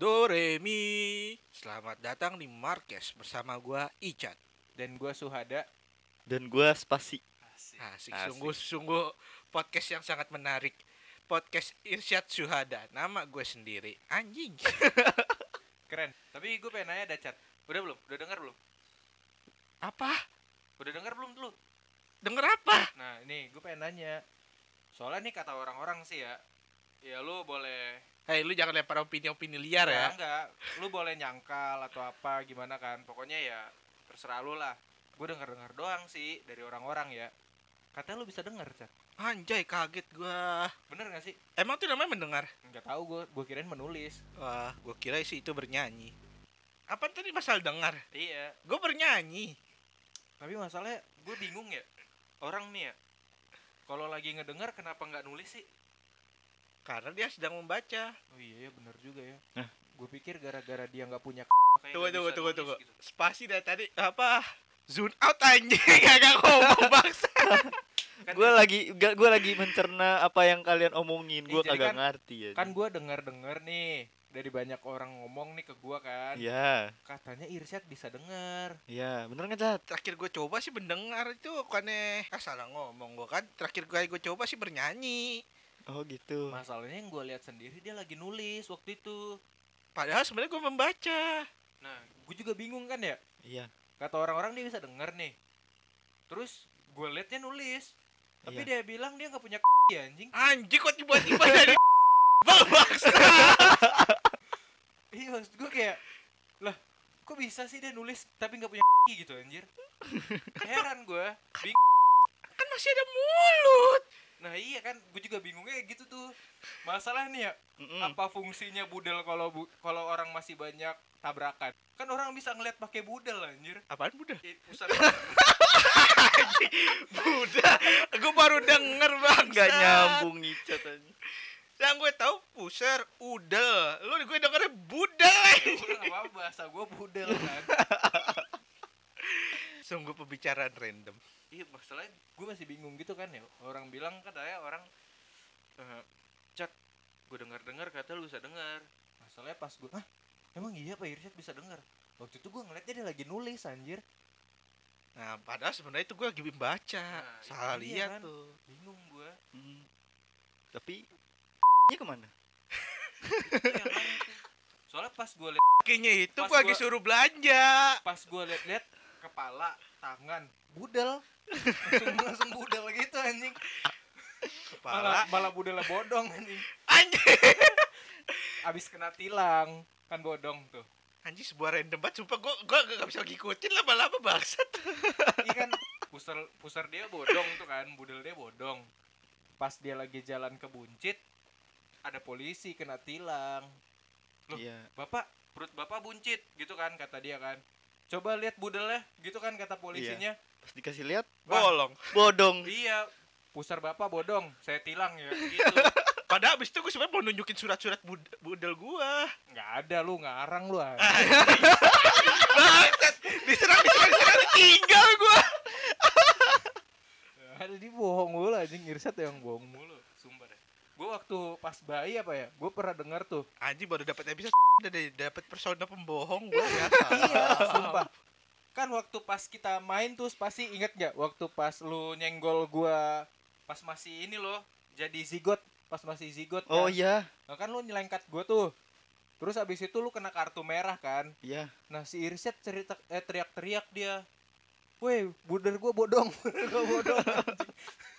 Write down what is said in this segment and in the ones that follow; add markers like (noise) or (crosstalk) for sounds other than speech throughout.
Do Re Mi. Selamat datang di Marques bersama gua Icat. dan gua Suhada Dan gua spasi. Asik, Asik. sungguh sungguh podcast yang sangat menarik. Podcast Irsyad Suhada. Nama gue sendiri. Anjing. keren tapi gue pengen nanya ada chat udah belum udah dengar belum Apa? udah dengar belum dulu Denger apa? nah ini gue pengen nanya soalnya nih kata orang-orang sih ya ya lu boleh Hei, lu jangan lempar opini-opini liar ya. Nah, enggak lu boleh nyangkal atau apa gimana kan pokoknya ya terserah lu lah gue dengar dengar doang sih dari orang-orang ya katanya lu bisa dengar chat Anjay, kaget gua. bener gak sih Emang tuh namanya mendengar? nggak tahu gue gue kirain menulis Wah, gua kira sih itu bernyanyi. Apa tadi masalah dengar? iya Gue bernyanyi. tapi masalahnya gue bingung ya orang nih ya kalau lagi ngedengar kenapa nggak nulis sih Karena dia sedang membaca. Oh iya ya bener juga ya. Hah? Gue pikir gara-gara dia nggak gitu. punya Tunggu, tunggu, tunggu, tunggu. Spasi dari tadi apa? Zone out anjing, (laughs) agak ngomong bangsa. Gua lagi ga- gua lagi mencerna apa yang kalian omongin. Gua Ih, jadi kagak kan- ngerti ya. Kan gue dengar-dengar nih dari banyak orang ngomong nih ke gue kan. Iya, Katanya Irsyad bisa denger. iya, bener nggak Cat? Terakhir gue coba sih mendengar itu bukannya ah salah ngomong gue kan. Terakhir kali gue coba sih bernyanyi. Oh gitu. Masalahnya yang gue lihat sendiri dia lagi nulis waktu itu. Padahal sebenarnya gue membaca. Nah, gue juga bingung kan ya. Iya. Kata orang-orang dia bisa denger nih. Terus gue liatnya nulis. Tapi dia Iya. bilang dia nggak punya ya, anjing. Anjing kok tiba-tiba (laughs) jadi Bang, bangsa. Iya maksud gue kayak lah kok bisa sih dia nulis tapi nggak punya gitu (laughs) anjir. Heran gue. Kan masih ada mulut. Nah iya kan, gue juga bingungnya gitu tuh. Masalah nih ya, Mm-mm. apa fungsinya budel kalau bu- kalau orang masih banyak tabrakan? Kan orang bisa ngeliat pakai budel anjir. Apaan Buddha? Eh, pusat- Buddha. gue baru denger bang. nggak nyambung nih Cat anjing. Yang gue tahu pusher, udel. Lu gue dengernya Buddha. Ya udah, nggak apa-apa, bahasa gue budel kan. Sungguh pembicaraan random. iya masalahnya gue masih bingung gitu kan ya. Orang bilang katanya orang eh, cat gue dengar dengar kata lu bisa dengar. Masalahnya pas gue, ah emang iya Pak Irsyad bisa dengar. Waktu itu gue ngeliatnya dia lagi nulis anjir. Nah, padahal sebenarnya itu gue lagi membaca. Nah, Salah itu dia lihat kan. tuh. Bingung gue. Mm. Tapi nya kemana? Iya, kan, itu. Soalnya pas gue Kayaknya itu Pas gue lagi gua- suruh belanja. pas gue liat-liat kepala tangan budel langsung, langsung budel gitu anjing Kepala. malah malah budelnya bodong anjing Anjing. abis kena tilang kan bodong tuh Anjing sebuah random banget. Sumpah gue gua gak bisa ngikutin lama-lama bangsat. ini kan pusar pusar dia bodong tuh kan budel dia bodong pas dia lagi jalan ke buncit ada polisi kena tilang Loh. Iya. bapak perut bapak buncit gitu kan kata dia kan coba lihat budelnya gitu kan kata polisinya Pas dikasih lihat Wah. Bolong. bodong. iya pusar bapak bodong saya tilang ya gitu Padahal abis itu gue sebenarnya mau nunjukin surat-surat bud- budel gue. nggak ada lu ngarang lu anjing. (laughs) Bangsat. Diserang, diserang, diserang. Tinggal gue. Ada di bohong mulu anjing Irsyad yang bohong mulu, sumpah deh. Gue waktu pas bayi apa ya? Gue pernah dengar (laughs) tuh. Anjing baru dapat episode. (laughs) Udah deh, dapet persona pembohong gue. Iya. sumpah. Kan waktu pas kita main tuh pasti inget gak waktu pas lu nyenggol gua pas masih ini loh jadi zigot pas masih zigot Oh kan? iya, Nah, kan lu nyelengkat gua tuh terus abis itu lu kena kartu merah kan iya. nah si Irsyad cerita eh teriak-teriak dia Woi, buder gua bodong, (laughs) buder gua bodong. anjing."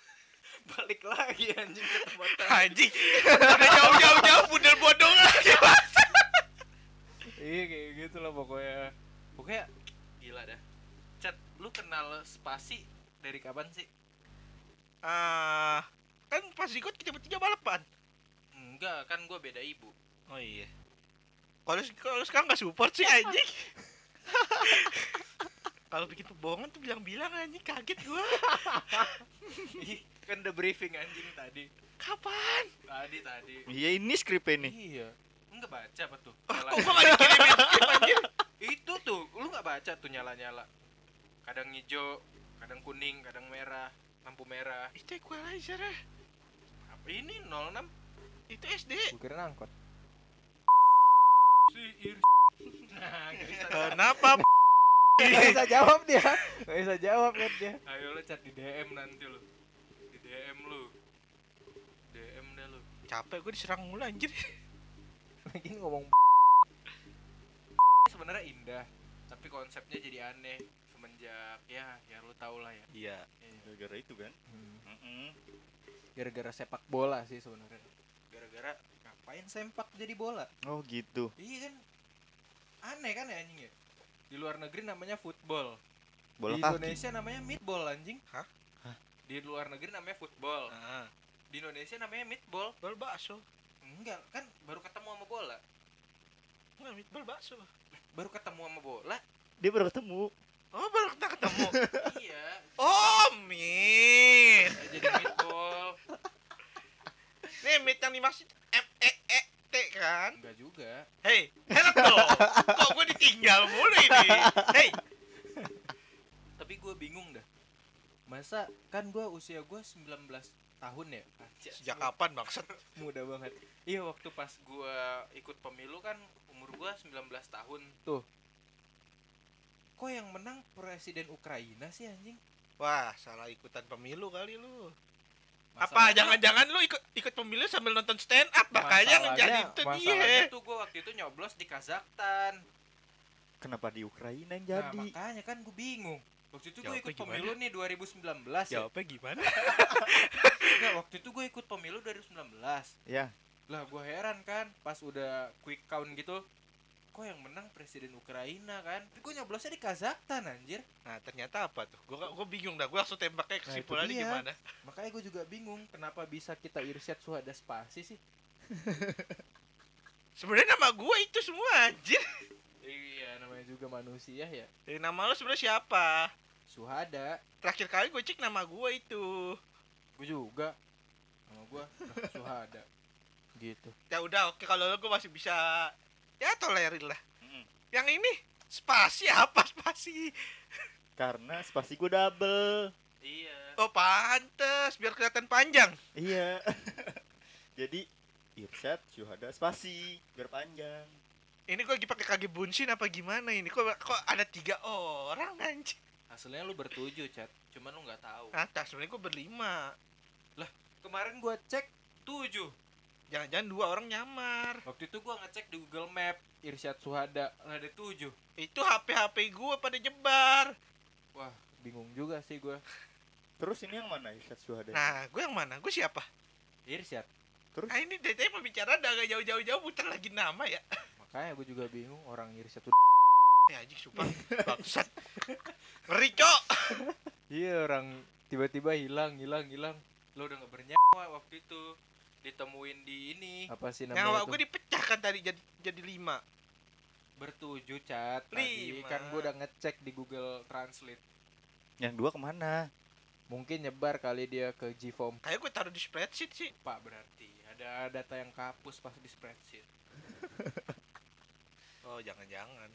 (laughs) Balik lagi anjing ke tempat Anjing. Udah jauh-jauh-jauh budel bodong lagi. Iya kayak gitu lah pokoknya. Pokoknya gila dah. Chat, lu kenal Spasi dari kapan sih? Ah, kan pas ikut kita bertiga balapan. Enggak, kan gua beda (laughs) ibu. Oh iya. Kalau kalau sekarang nggak support (laughs) sih anjing. kalau bikin pembohongan tuh bilang-bilang anjing kaget gua. Ih, kan udah briefing anjing tadi. Kapan? Tadi tadi. Iya ini skripnya nih. Iya. Ah, Enggak baca apa tuh? Kok Nyala- gua nggak ya? dikirimin skip anjing? Itu tuh, lu nggak baca tuh nyala-nyala. Kadang hijau, kadang kuning, kadang merah, lampu merah. Itu equalizer ya. Apa ini 06? Itu SD. Gue kira angkot. si ir nah nggak bisa Kenapa? Gak bisa jawab dia. Gak bisa jawab kan dia. ayo lo chat di DM nanti lo di DM lo DM deh lo Capek gue diserang mulu anjir. Lagi ngomong sebenarnya indah tapi konsepnya jadi aneh semenjak ya ya lo tau lah ya Iya, Iya. gara-gara itu kan. Hmm. gara-gara sepak bola sih sebenarnya. gara-gara ngapain sempak jadi bola Oh gitu. iya kan aneh kan ya anjing ya di luar negeri namanya football Bola di kaki. Indonesia namanya meatball anjing Hah? di luar negeri namanya football Heeh. di Indonesia namanya meatball Nah, Bal bakso. enggak kan baru ketemu sama bola Nggak, meatball bakso. baru ketemu sama (laughs) bola Dia baru ketemu. Oh, baru kita ketemu. iya oh, meat. saya jadi meatball Nih, meat yang dimaksud M E E T kan? enggak juga Hei, enak dong. Kok gue ditinggal mulu ini? Hei, tapi gue bingung dah masa kan gue usia gue 19 tahun ya Anjay, sejak kapan maksud? muda banget iya waktu pas gua ikut pemilu kan umur gua 19 tahun Tuh. kok yang menang presiden Ukraina sih anjing Wah, salah ikutan pemilu kali lu. Apa Masalahnya- jangan-jangan lu ikut ikut pemilu sambil nonton stand up makanya menjadi Masalahnya- itu dia. masalahnya tuh gua waktu itu nyoblos di Kazakhstan Kenapa di Ukraina yang nah jadi? makanya kan gua bingung waktu itu gua Jawabnya ikut gimana? pemilu nih 2019 ya Jawabnya gimana? Nggak, waktu itu gua ikut pemilu 2019 ya, lah gua heran kan pas udah quick count gitu kok yang menang presiden Ukraina kan Tapi gua nyoblosnya di Kazakhstan anjir Nah, ternyata apa tuh? Gua gua bingung dah. Gua langsung tembaknya Nah, itu kesimpulannya dia. gimana? Makanya gue juga bingung kenapa bisa kita irsyad suhada spasi sih. Sebenarnya nama gua itu semua anjir. Iya namanya juga manusia ya. Jadi nama lu sebenarnya siapa? Suhada. Terakhir kali gue cek nama gua itu. Gue juga. Nama gue suhada. Gitu. Ya udah oke kalau lu gua masih bisa ya tolerin lah. Hmm. Mm-mm. Yang ini spasi apa spasi? karena spasi gue double. Iya. Oh, pantes biar kelihatan panjang. Iya. (laughs) jadi Irsyad Syuhada spasi biar panjang. Ini gua lagi pakai kaki bunsin apa gimana ini? Kok kok ada tiga orang anjir? Hasilnya lu bertujuh chat. Cuman lu nggak tahu. Atas Nah, sebenarnya gua berlima. Kemarin gue cek tujuh. Jangan-jangan dua orang nyamar. Waktu itu gue ngecek di Google Map irsyad suhada lah ada tujuh. Itu HP-HP gua pada nyebar. Wah bingung juga sih gue. Terus ini yang mana Irsyad Syuhada? Nah, gue yang mana? Gue siapa? Irsyad. Ah ini dari tadi pembicaraan udah agak jauh-jauh-jauh muter lagi nama ya. Makanya gue juga bingung orang irsyad tuh. Ya anjing sumpah bangsat. Ngeri cok. Iya orang tiba-tiba hilang hilang hilang. Lo udah nggak bernyawa waktu itu ditemuin di ini Apa sih namanya? Nyawa tuh? gue dipecahkan tadi jadi jadi lima. bertujuh cat tadi Lima. kan gue udah ngecek di Google Translate Yang dua kemana? Mungkin nyebar kali dia ke G-Form. Kayak gue taruh di spreadsheet sih. pak berarti ada data yang kehapus pas di spreadsheet Oh jangan-jangan.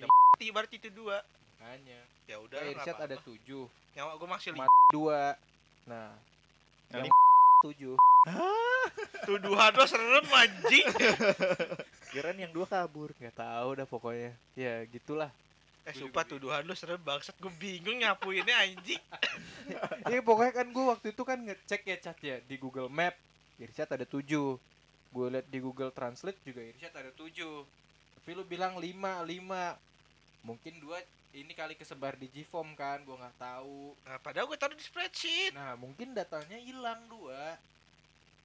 Ya Iya. mati berarti itu dua. makanya Ya udah. Pak Irsyad nggak ada apa-apa. tujuh Nyawa gue masih lima. Mat- Dua. Nah. Yang Yang tujuh. Tuduhan lo serem anjing. Kirain yang dua kabur. Gak tahu dah pokoknya. Ya gitulah. eh sumpah tuduhan lo serem bangsat. Gue bingung nyapuinnya anjing. Iya pokoknya kan gue waktu itu kan ngecek ya cat ya di Google Map. Irsyad ada tujuh. Gue liat di Google Translate juga Irsyad. Irsyad ada tujuh tapi lu bilang lima lima mungkin dua ini kali kesebar di Gform kan gue nggak tahu Nah, padahal gue taruh di spreadsheet. nah mungkin datanya hilang dua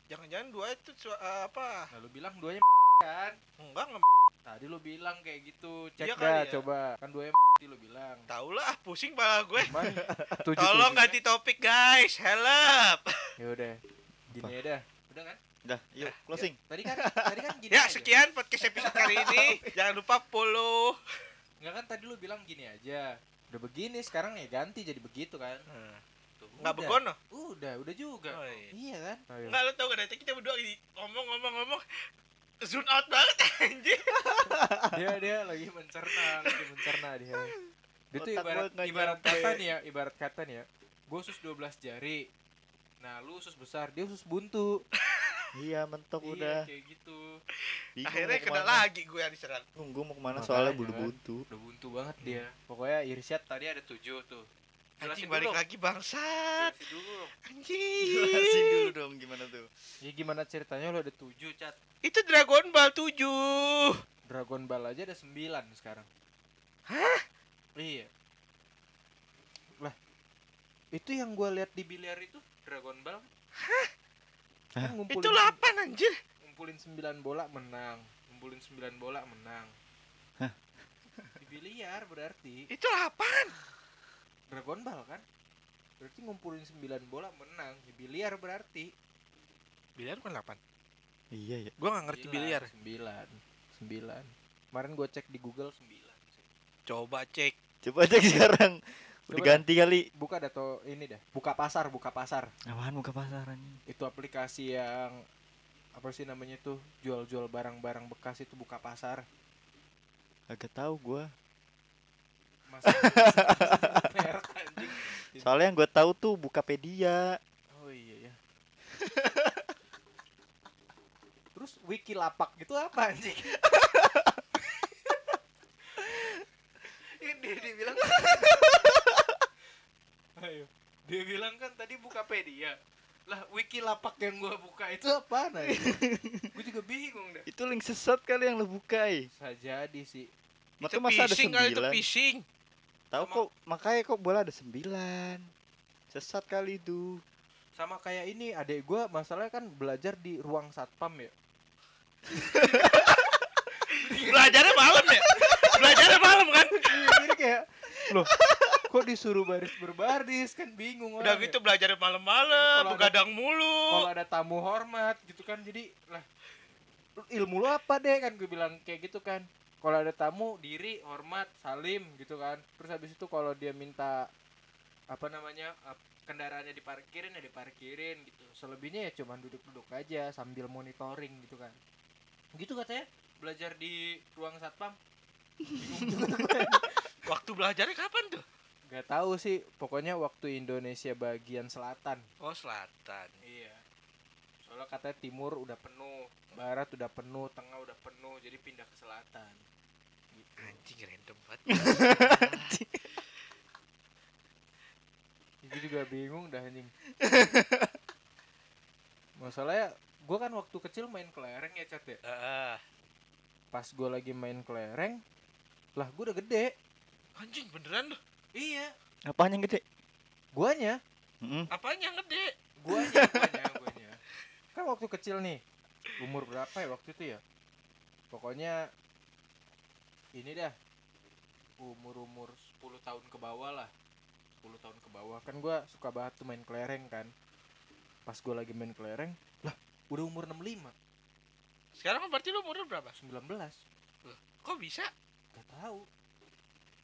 Jangan-jangan dua itu su- eh, apa? nah lu bilang duanya (laughs) kan Enggak nggak tadi lu bilang kayak gitu Cek Iya dah kali ya. coba. kan duanya (laughs) tadi lu bilang tahu lah. ah, Pusing pala gue. (laughs) Cuman tujuh. Tolong tujuh. ganti topik guys, help. Ya udah. Gini ya dah. udah kan Dah, yuk closing. tadi (laughs) kan tadi kan gini Ya aja. sekian podcast episode kali ini. Jangan lupa follow. nggak kan tadi lu bilang gini aja udah begini sekarang ya ganti jadi begitu kan Tuh, Nggak udah. begono. Udah, udah juga. Oh, iya. Iya kan? Ayo. Nggak lo tau gak nanti kita berdua ini ngomong-ngomong-ngomong zoom out banget (laughs) anjir. Dia dia lagi mencerna, lagi mencerna dia. (laughs) Dia tuh Otak ibarat gua nggak ibarat nyampe. kata nih ya, ibarat kata nih ya. Gue usus 12 jari. Nah, lu usus besar, dia usus buntu. Iya mentok Iya, udah. kayak gitu Bingung Akhirnya mau kena kemana. lagi gue yang diserang. Nunggu mau kemana Makanya soalnya kan. bulu buntu. udah buntu banget Iya. dia Pokoknya Irsyad tadi ada tujuh tuh Anjing Jelasin balik dulu. lagi bangsat. Jelasin dulu dong. Jelasin dulu Anjing. dong gimana tuh. Ya gimana ceritanya lo ada tujuh tujuh cat Itu Dragon Ball 7. Dragon Ball aja ada sembilan sekarang iya Itu yang gue lihat di biliar itu Dragon Ball kan ngumpulin Itu 8 anjir. Ngumpulin sembilan bola menang ngumpulin sembilan bola menang Di biliar berarti Itu 8. Dragon Ball kan Berarti ngumpulin sembilan bola menang Di biliar berarti Biliar bukan 8. Iya ya. Gue gak ngerti Sembilan. biliar. Sembilan Sembilan Kemarin gue cek di Google sembilan Coba cek. Coba cek (laughs) sekarang. Udah Coba ganti kali. Buka dah to ini dah Buka pasar, buka pasar Apaan muka pasaran ini? Itu aplikasi yang apa sih namanya tuh jual-jual barang-barang bekas itu buka pasar Agak tahu gua. Mas merek anjing Soalnya yang gua tahu tuh Bukapedia. Oh iya ya. Terus wiki lapak gitu apa anjing? (laughs) ini dia (laughs) bilang ayo dia bilang kan tadi buka pedia lah wiki lapak yang gua buka itu Itu apa anjing? gua juga bingung dah Itu link sesat kali yang lo buka. eh. Bisa jadi sih. Itu Maka masa ada phishing kali itu sembilan. phishing. Tahu Sama- kok makanya kok bola ada sembilan. Sesat kali itu. Sama kayak ini adek gua masalahnya kan belajar di ruang satpam ya. (laughs) Belajarnya malam ya? Belajarnya malam kan? Iya, Jadi kayak (laughs) loh kok disuruh baris berbaris kan bingung Udah orang ya. gitu belajarnya Kalau malam-malam, ada- begadang Kalau mulu. ada tamu hormat gitu kan jadi lah lu ilmu lu apa deh kan gue bilang kayak gitu kan. Kalau ada tamu diri hormat salim gitu kan terus habis itu kalau dia minta apa namanya eh, kendaraannya diparkirin ya diparkirin gitu selebihnya ya cuman duduk-duduk aja sambil monitoring gitu kan gitu katanya belajar di ruang satpam Waktu belajarnya kapan tuh? nggak tahu sih pokoknya waktu Indonesia bagian selatan Oh, selatan. iya soalnya katanya timur udah penuh penuh barat udah penuh tengah udah penuh jadi pindah ke selatan Anjing random banget. itu juga bingung dah (laughs) anjing masalahnya gue kan waktu kecil main kelereng ya cat ya Heeh. pas gue lagi main kelereng lah gue udah gede Anjing beneran loh. iya Apaan yang gede? guanya Mm-mm. Apanya yang gede? guanya guanya guanya kan waktu kecil nih umur berapa ya waktu itu ya pokoknya ini dah umur umur 10 tahun ke bawah lah 10 tahun ke bawah kan gua suka banget tuh main kelereng kan pas gua lagi main kelereng lah udah umur 65 Sekarang kan berarti lu umur berapa? 19 Kok bisa? gak tahu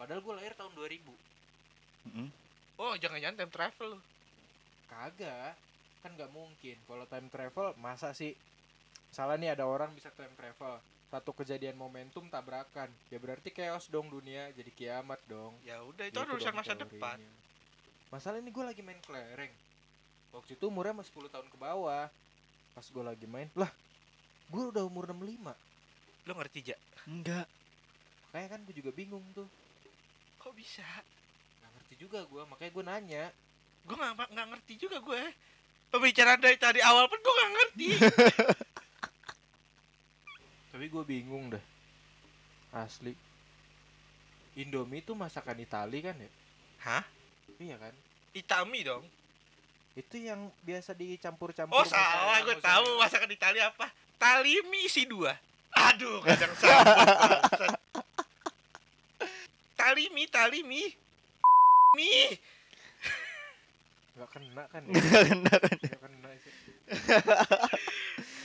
padahal gua lahir tahun 2000 Mm-mm. Oh, jangan-jangan time travel lu. kagak kan nggak mungkin kalau time travel masa sih salah nih ada orang bisa time travel satu kejadian momentum tabrakan ya berarti chaos dong dunia jadi kiamat dong Ya udah itu Gitu urusan dong masa teorinya. depan. Masalah ini gue lagi main kelereng. Waktu itu umurnya masih 10 tahun ke bawah. Pas gue lagi main, lah gue udah umur 65. Lu ngerti ja? Enggak. Kayak kan gue juga bingung tuh. Kok bisa? Gak ngerti juga gue, makanya gue nanya. Gue nggak nggak ngerti juga gue. Pembicaraan dari tadi awal pun gue nggak ngerti. Tapi gue bingung dah. Asli. Indomie itu masakan Itali kan ya? Hah? Iya kan? Itami dong. Itu yang biasa dicampur-campur. Oh masakan. salah, gue mozzarella. tahu masakan Italia apa. Talimi isi dua. Aduh, kadang salah. talimi, talimi. Mi. Gak kena kan (laughs) ya? (laughs) Enggak kena. Gak kena sih.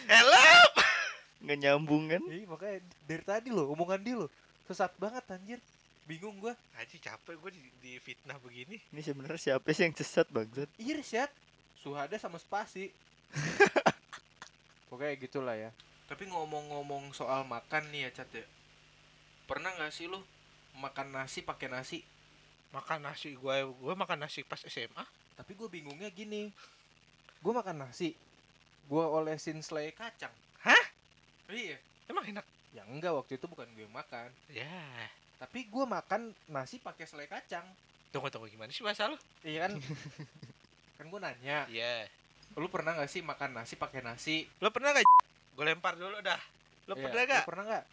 Hello. Enggak nyambung kan? Iya makanya dari tadi loh, omongan dia loh. Sesat banget anjir. Bingung gue. Aji capek gue di, di fitnah begini. Ini sebenarnya siapa sih yang sesat bangsat? Irsyad Iya, Suhada sama Spasi (laughs) Pokoknya gitulah ya Tapi ngomong-ngomong soal makan nih ya Cat ya Pernah gak sih lu makan nasi pakai nasi? Makan nasi gue, gue makan nasi pas SMA. Tapi gue bingungnya gini Gue makan nasi gua olesin selai kacang Hah? iya Emang enak. ya enggak waktu itu bukan gue yang makan Ya. tapi gua makan nasi pakai selai kacang Tunggu tunggu gimana sih bahasa lu? (laughs) iya kan kan gue nanya Iya. lu pernah nggak sih makan nasi pakai nasi Lo pernah gak? Gue lempar dulu dah. Lo Iya, pernah gak? lu pernah nggak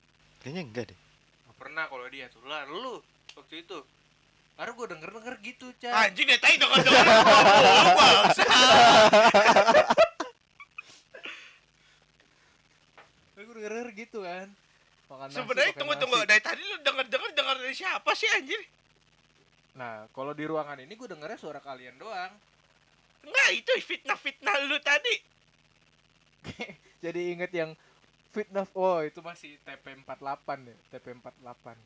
Kayaknya enggak deh. Nggak pernah kalau dia tuh lah lu waktu itu baru gue denger denger gitu cah Anjing deh tai dong dong. Lu bangsa. gue denger denger gitu kan makan nasi Sebenarnya pakai tunggu nasi. tunggu dari tadi lu denger denger denger dari siapa sih anjir? nah kalau di ruangan ini gue dengernya suara kalian doang Enggak itu fitnah fitnah lu tadi. jadi inget yang fitnah oh itu masih TP 48 ya TP 48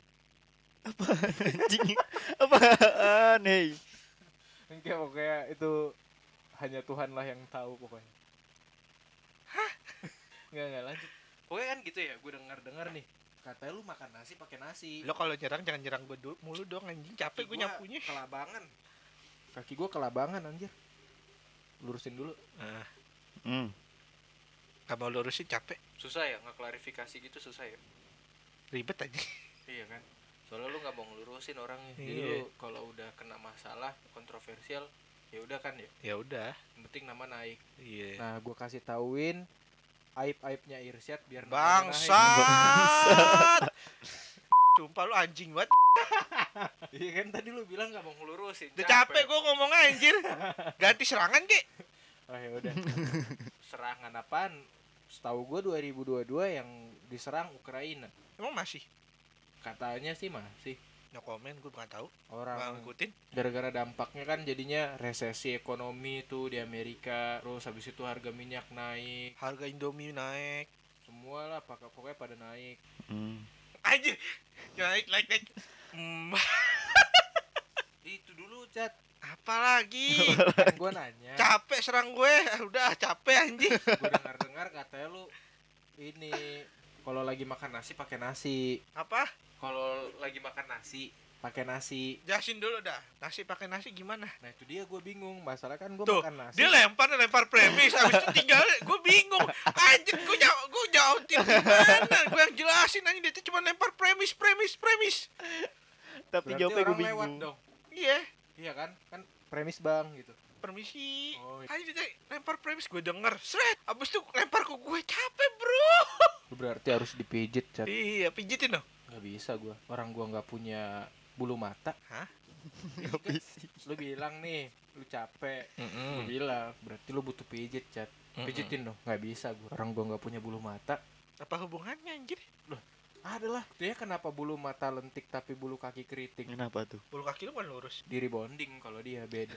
Anjing. Apaan, hei? enggak pokoknya itu hanya Tuhan lah yang tahu pokoknya (laughs) nggak nggak lanjut pokoknya kan gitu ya gue denger denger nih katanya lu makan nasi pakai nasi Lo kalau nyerang jangan nyerang gue dulu mulu dong anjing capek gue Gua nyapunya. kelabangan kaki gua kelabangan anjir lurusin dulu Ah. Hmm. Gak mau lurusin capek susah ya nggak klarifikasi gitu susah ya ribet aja. iya kan soalnya lu nggak mau ngelurusin orangnya jadi Iya. lu kalau udah kena masalah kontroversial ya udah kan ya Ya udah. yang penting nama naik Iya. nah gua kasih tauin aib aibnya Irsyad biar namanya (laughs) Bangsat. Sumpah lu anjing banget. naik. iya kan tadi lu bilang nggak mau ngelurusin Udah capek gue ngomong anjir. Ganti serangan kek. oh ya udah serangan apaan setahu gua 2022 yang diserang Ukraina Emang masih? katanya sih masih No comment gue nggak tahu. Nggak orang ngikutin. gara-gara dampaknya kan jadinya resesi ekonomi itu di Amerika terus habis itu harga minyak naik Harga Indomie naik. semua lah pokok- pokoknya pada naik Hmm. Anjir. Naik naik naik. Hmm, itu dulu cat apa lagi? kan gue nanya (laughs) capek serang gue. Ah, Udah capek anjing. gue dengar dengar katanya lu ini kalau lagi makan nasi pakai nasi Apa? kalau lagi makan nasi pakai nasi Jelasin dulu dah. Nasi pakai nasi gimana? nah itu dia gue bingung masalah kan gue Tuh, makan nasi Dia lempar lempar premis habis itu tinggal gue bingung. Anjir gue nyaw gue nyautin gimana? Gue yang jelasin anjing dia tuh cuma lempar premis premis premis. berarti Tapi jawabnya gue orang lewat bingung. dong Iya. iya kan kan premis bang gitu Permisi. oh itu Anjir dia lempar premis gue denger. Sret. Habis itu lempar ke gue capek, Bro. berarti harus dipijit cat Iya, pijitin dong. nggak bisa gue orang gue nggak punya bulu mata Nggak bisa. lu bilang nih lu capek Gua Hmm. bilang berarti lu butuh pijit cat pijitin dong nggak bisa gue orang gue nggak punya bulu mata Apa hubungannya anjir? adalah dia kenapa bulu mata lentik tapi bulu kaki keriting Kenapa tuh? Bulu kaki lu kan lurus. di rebonding kalau dia (laughs) beda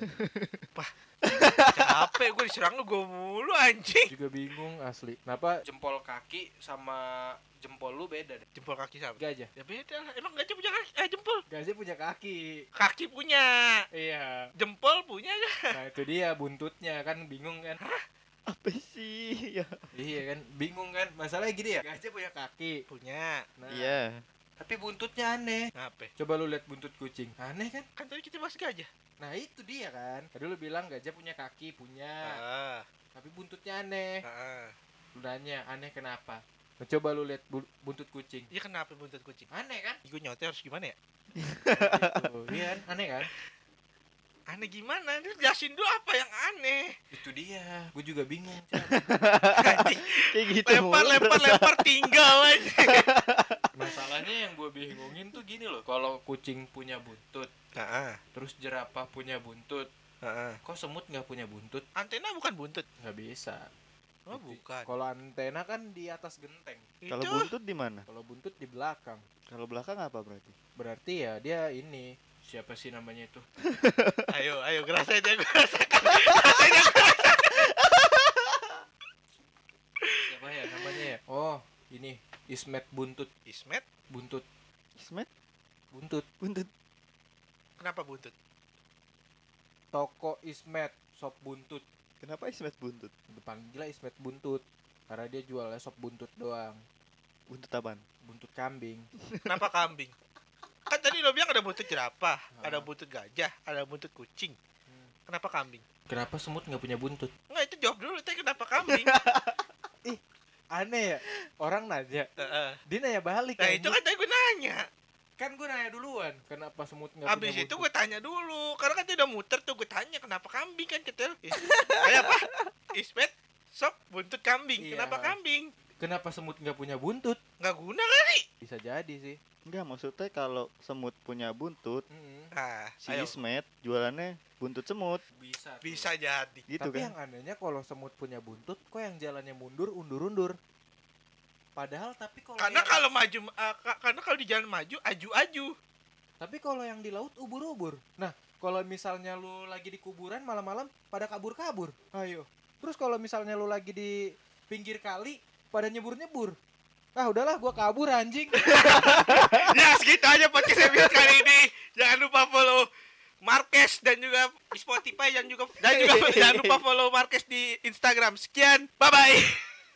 Capek gue diserang lu gue mulu anjing. juga bingung asli kenapa jempol kaki sama jempol lu beda deh Jempol kaki sama. gajah Ya beda lah. Emang gajah punya kaki? Eh, jempol. gajah punya kaki Kaki punya. iya Jempol punya gak? nah itu dia buntutnya kan bingung kan Apa sih? Ya. iya kan bingung kan masalahnya gini ya gajah punya kaki Punya. nah Iya. tapi buntutnya aneh Ngapain? coba lu lihat buntut kucing aneh kan Kan tadi kita bahas gajah. nah itu dia kan tadi lu bilang gajah punya Nah. kaki punya Ah, tapi buntutnya aneh ah. lu nanya aneh kenapa Nah, coba lu lihat bu- buntut kucing Ya kenapa buntut kucing? aneh kan Gue nyote harus gimana ya? Oh, Gitu. iya kan aneh kan Aneh gimana? Lu jelasin dulu apa yang aneh. itu dia gue juga bingung Cak. Kayak gitu. Lempar, mulu lempar, perasaan. lempar, tinggal aja. (laughs) masalahnya yang gue bingungin tuh gini loh kalau kucing punya buntut Heeh, terus jerapah punya buntut heeh. kok semut nggak punya buntut Antena bukan buntut. nggak bisa Oh, bukan. kalau antena kan di atas genteng Kalau Gitu. Itu buntut di mana? kalau buntut di belakang Kalau belakang apa berarti? berarti ya dia ini siapa sih namanya itu ayo, ayo ya ngerasain aja gue rasain. siapa ya namanya ya oh ini ismet buntut Ismet, buntut Ismet buntut buntut. kenapa buntut? toko ismet sop buntut Kenapa Ismet buntut? depan gila ismet buntut karena dia jualnya sop buntut doang Buntut apaan? buntut kambing Kenapa kambing? Kan tadi lo bilang ada buntut jerapah, Heeh. ada buntut gajah, ada buntut kucing. Hmm. Kenapa kambing? Kenapa semut nggak punya buntut? Enggak itu jawab dulu teh kenapa (laughs) kambing? aneh ya orang nanya Heeh. dia nanya balik nah anjing. itu kan tadi gue nanya. kan gue nanya duluan kenapa semut nggak Abis punya itu buntut? gue tanya dulu karena kan dia udah muter tuh gue tanya kenapa kambing kan ketel. Kayak apa? Ispet sop buntut kambing. Iya. Kenapa kambing? kenapa semut nggak punya buntut Nggak guna kan? bisa jadi sih Enggak maksudnya kalau semut punya buntut, Mm-mm. Nah, si ayo. Ismet jualannya buntut semut Bisa. tuh. bisa jadi. gitu tapi kan. yang anehnya kalau semut punya buntut kok yang jalannya mundur undur-undur padahal tapi kalau Karena kan- yang- kalau maju eh, ka- karena kalau di jalan maju aju-aju. tapi kalau yang di laut ubur-ubur nah kalau misalnya lu lagi di kuburan malam-malam pada kabur-kabur ayo terus kalau misalnya lu lagi di pinggir kali pada nyebur-nyebur ah udahlah gua kabur anjing (laughs) ya segitu aja podcast episode kali ini jangan lupa follow Marquez dan juga di Spotify dan juga dan juga jangan lupa follow Marquez di Instagram sekian bye bye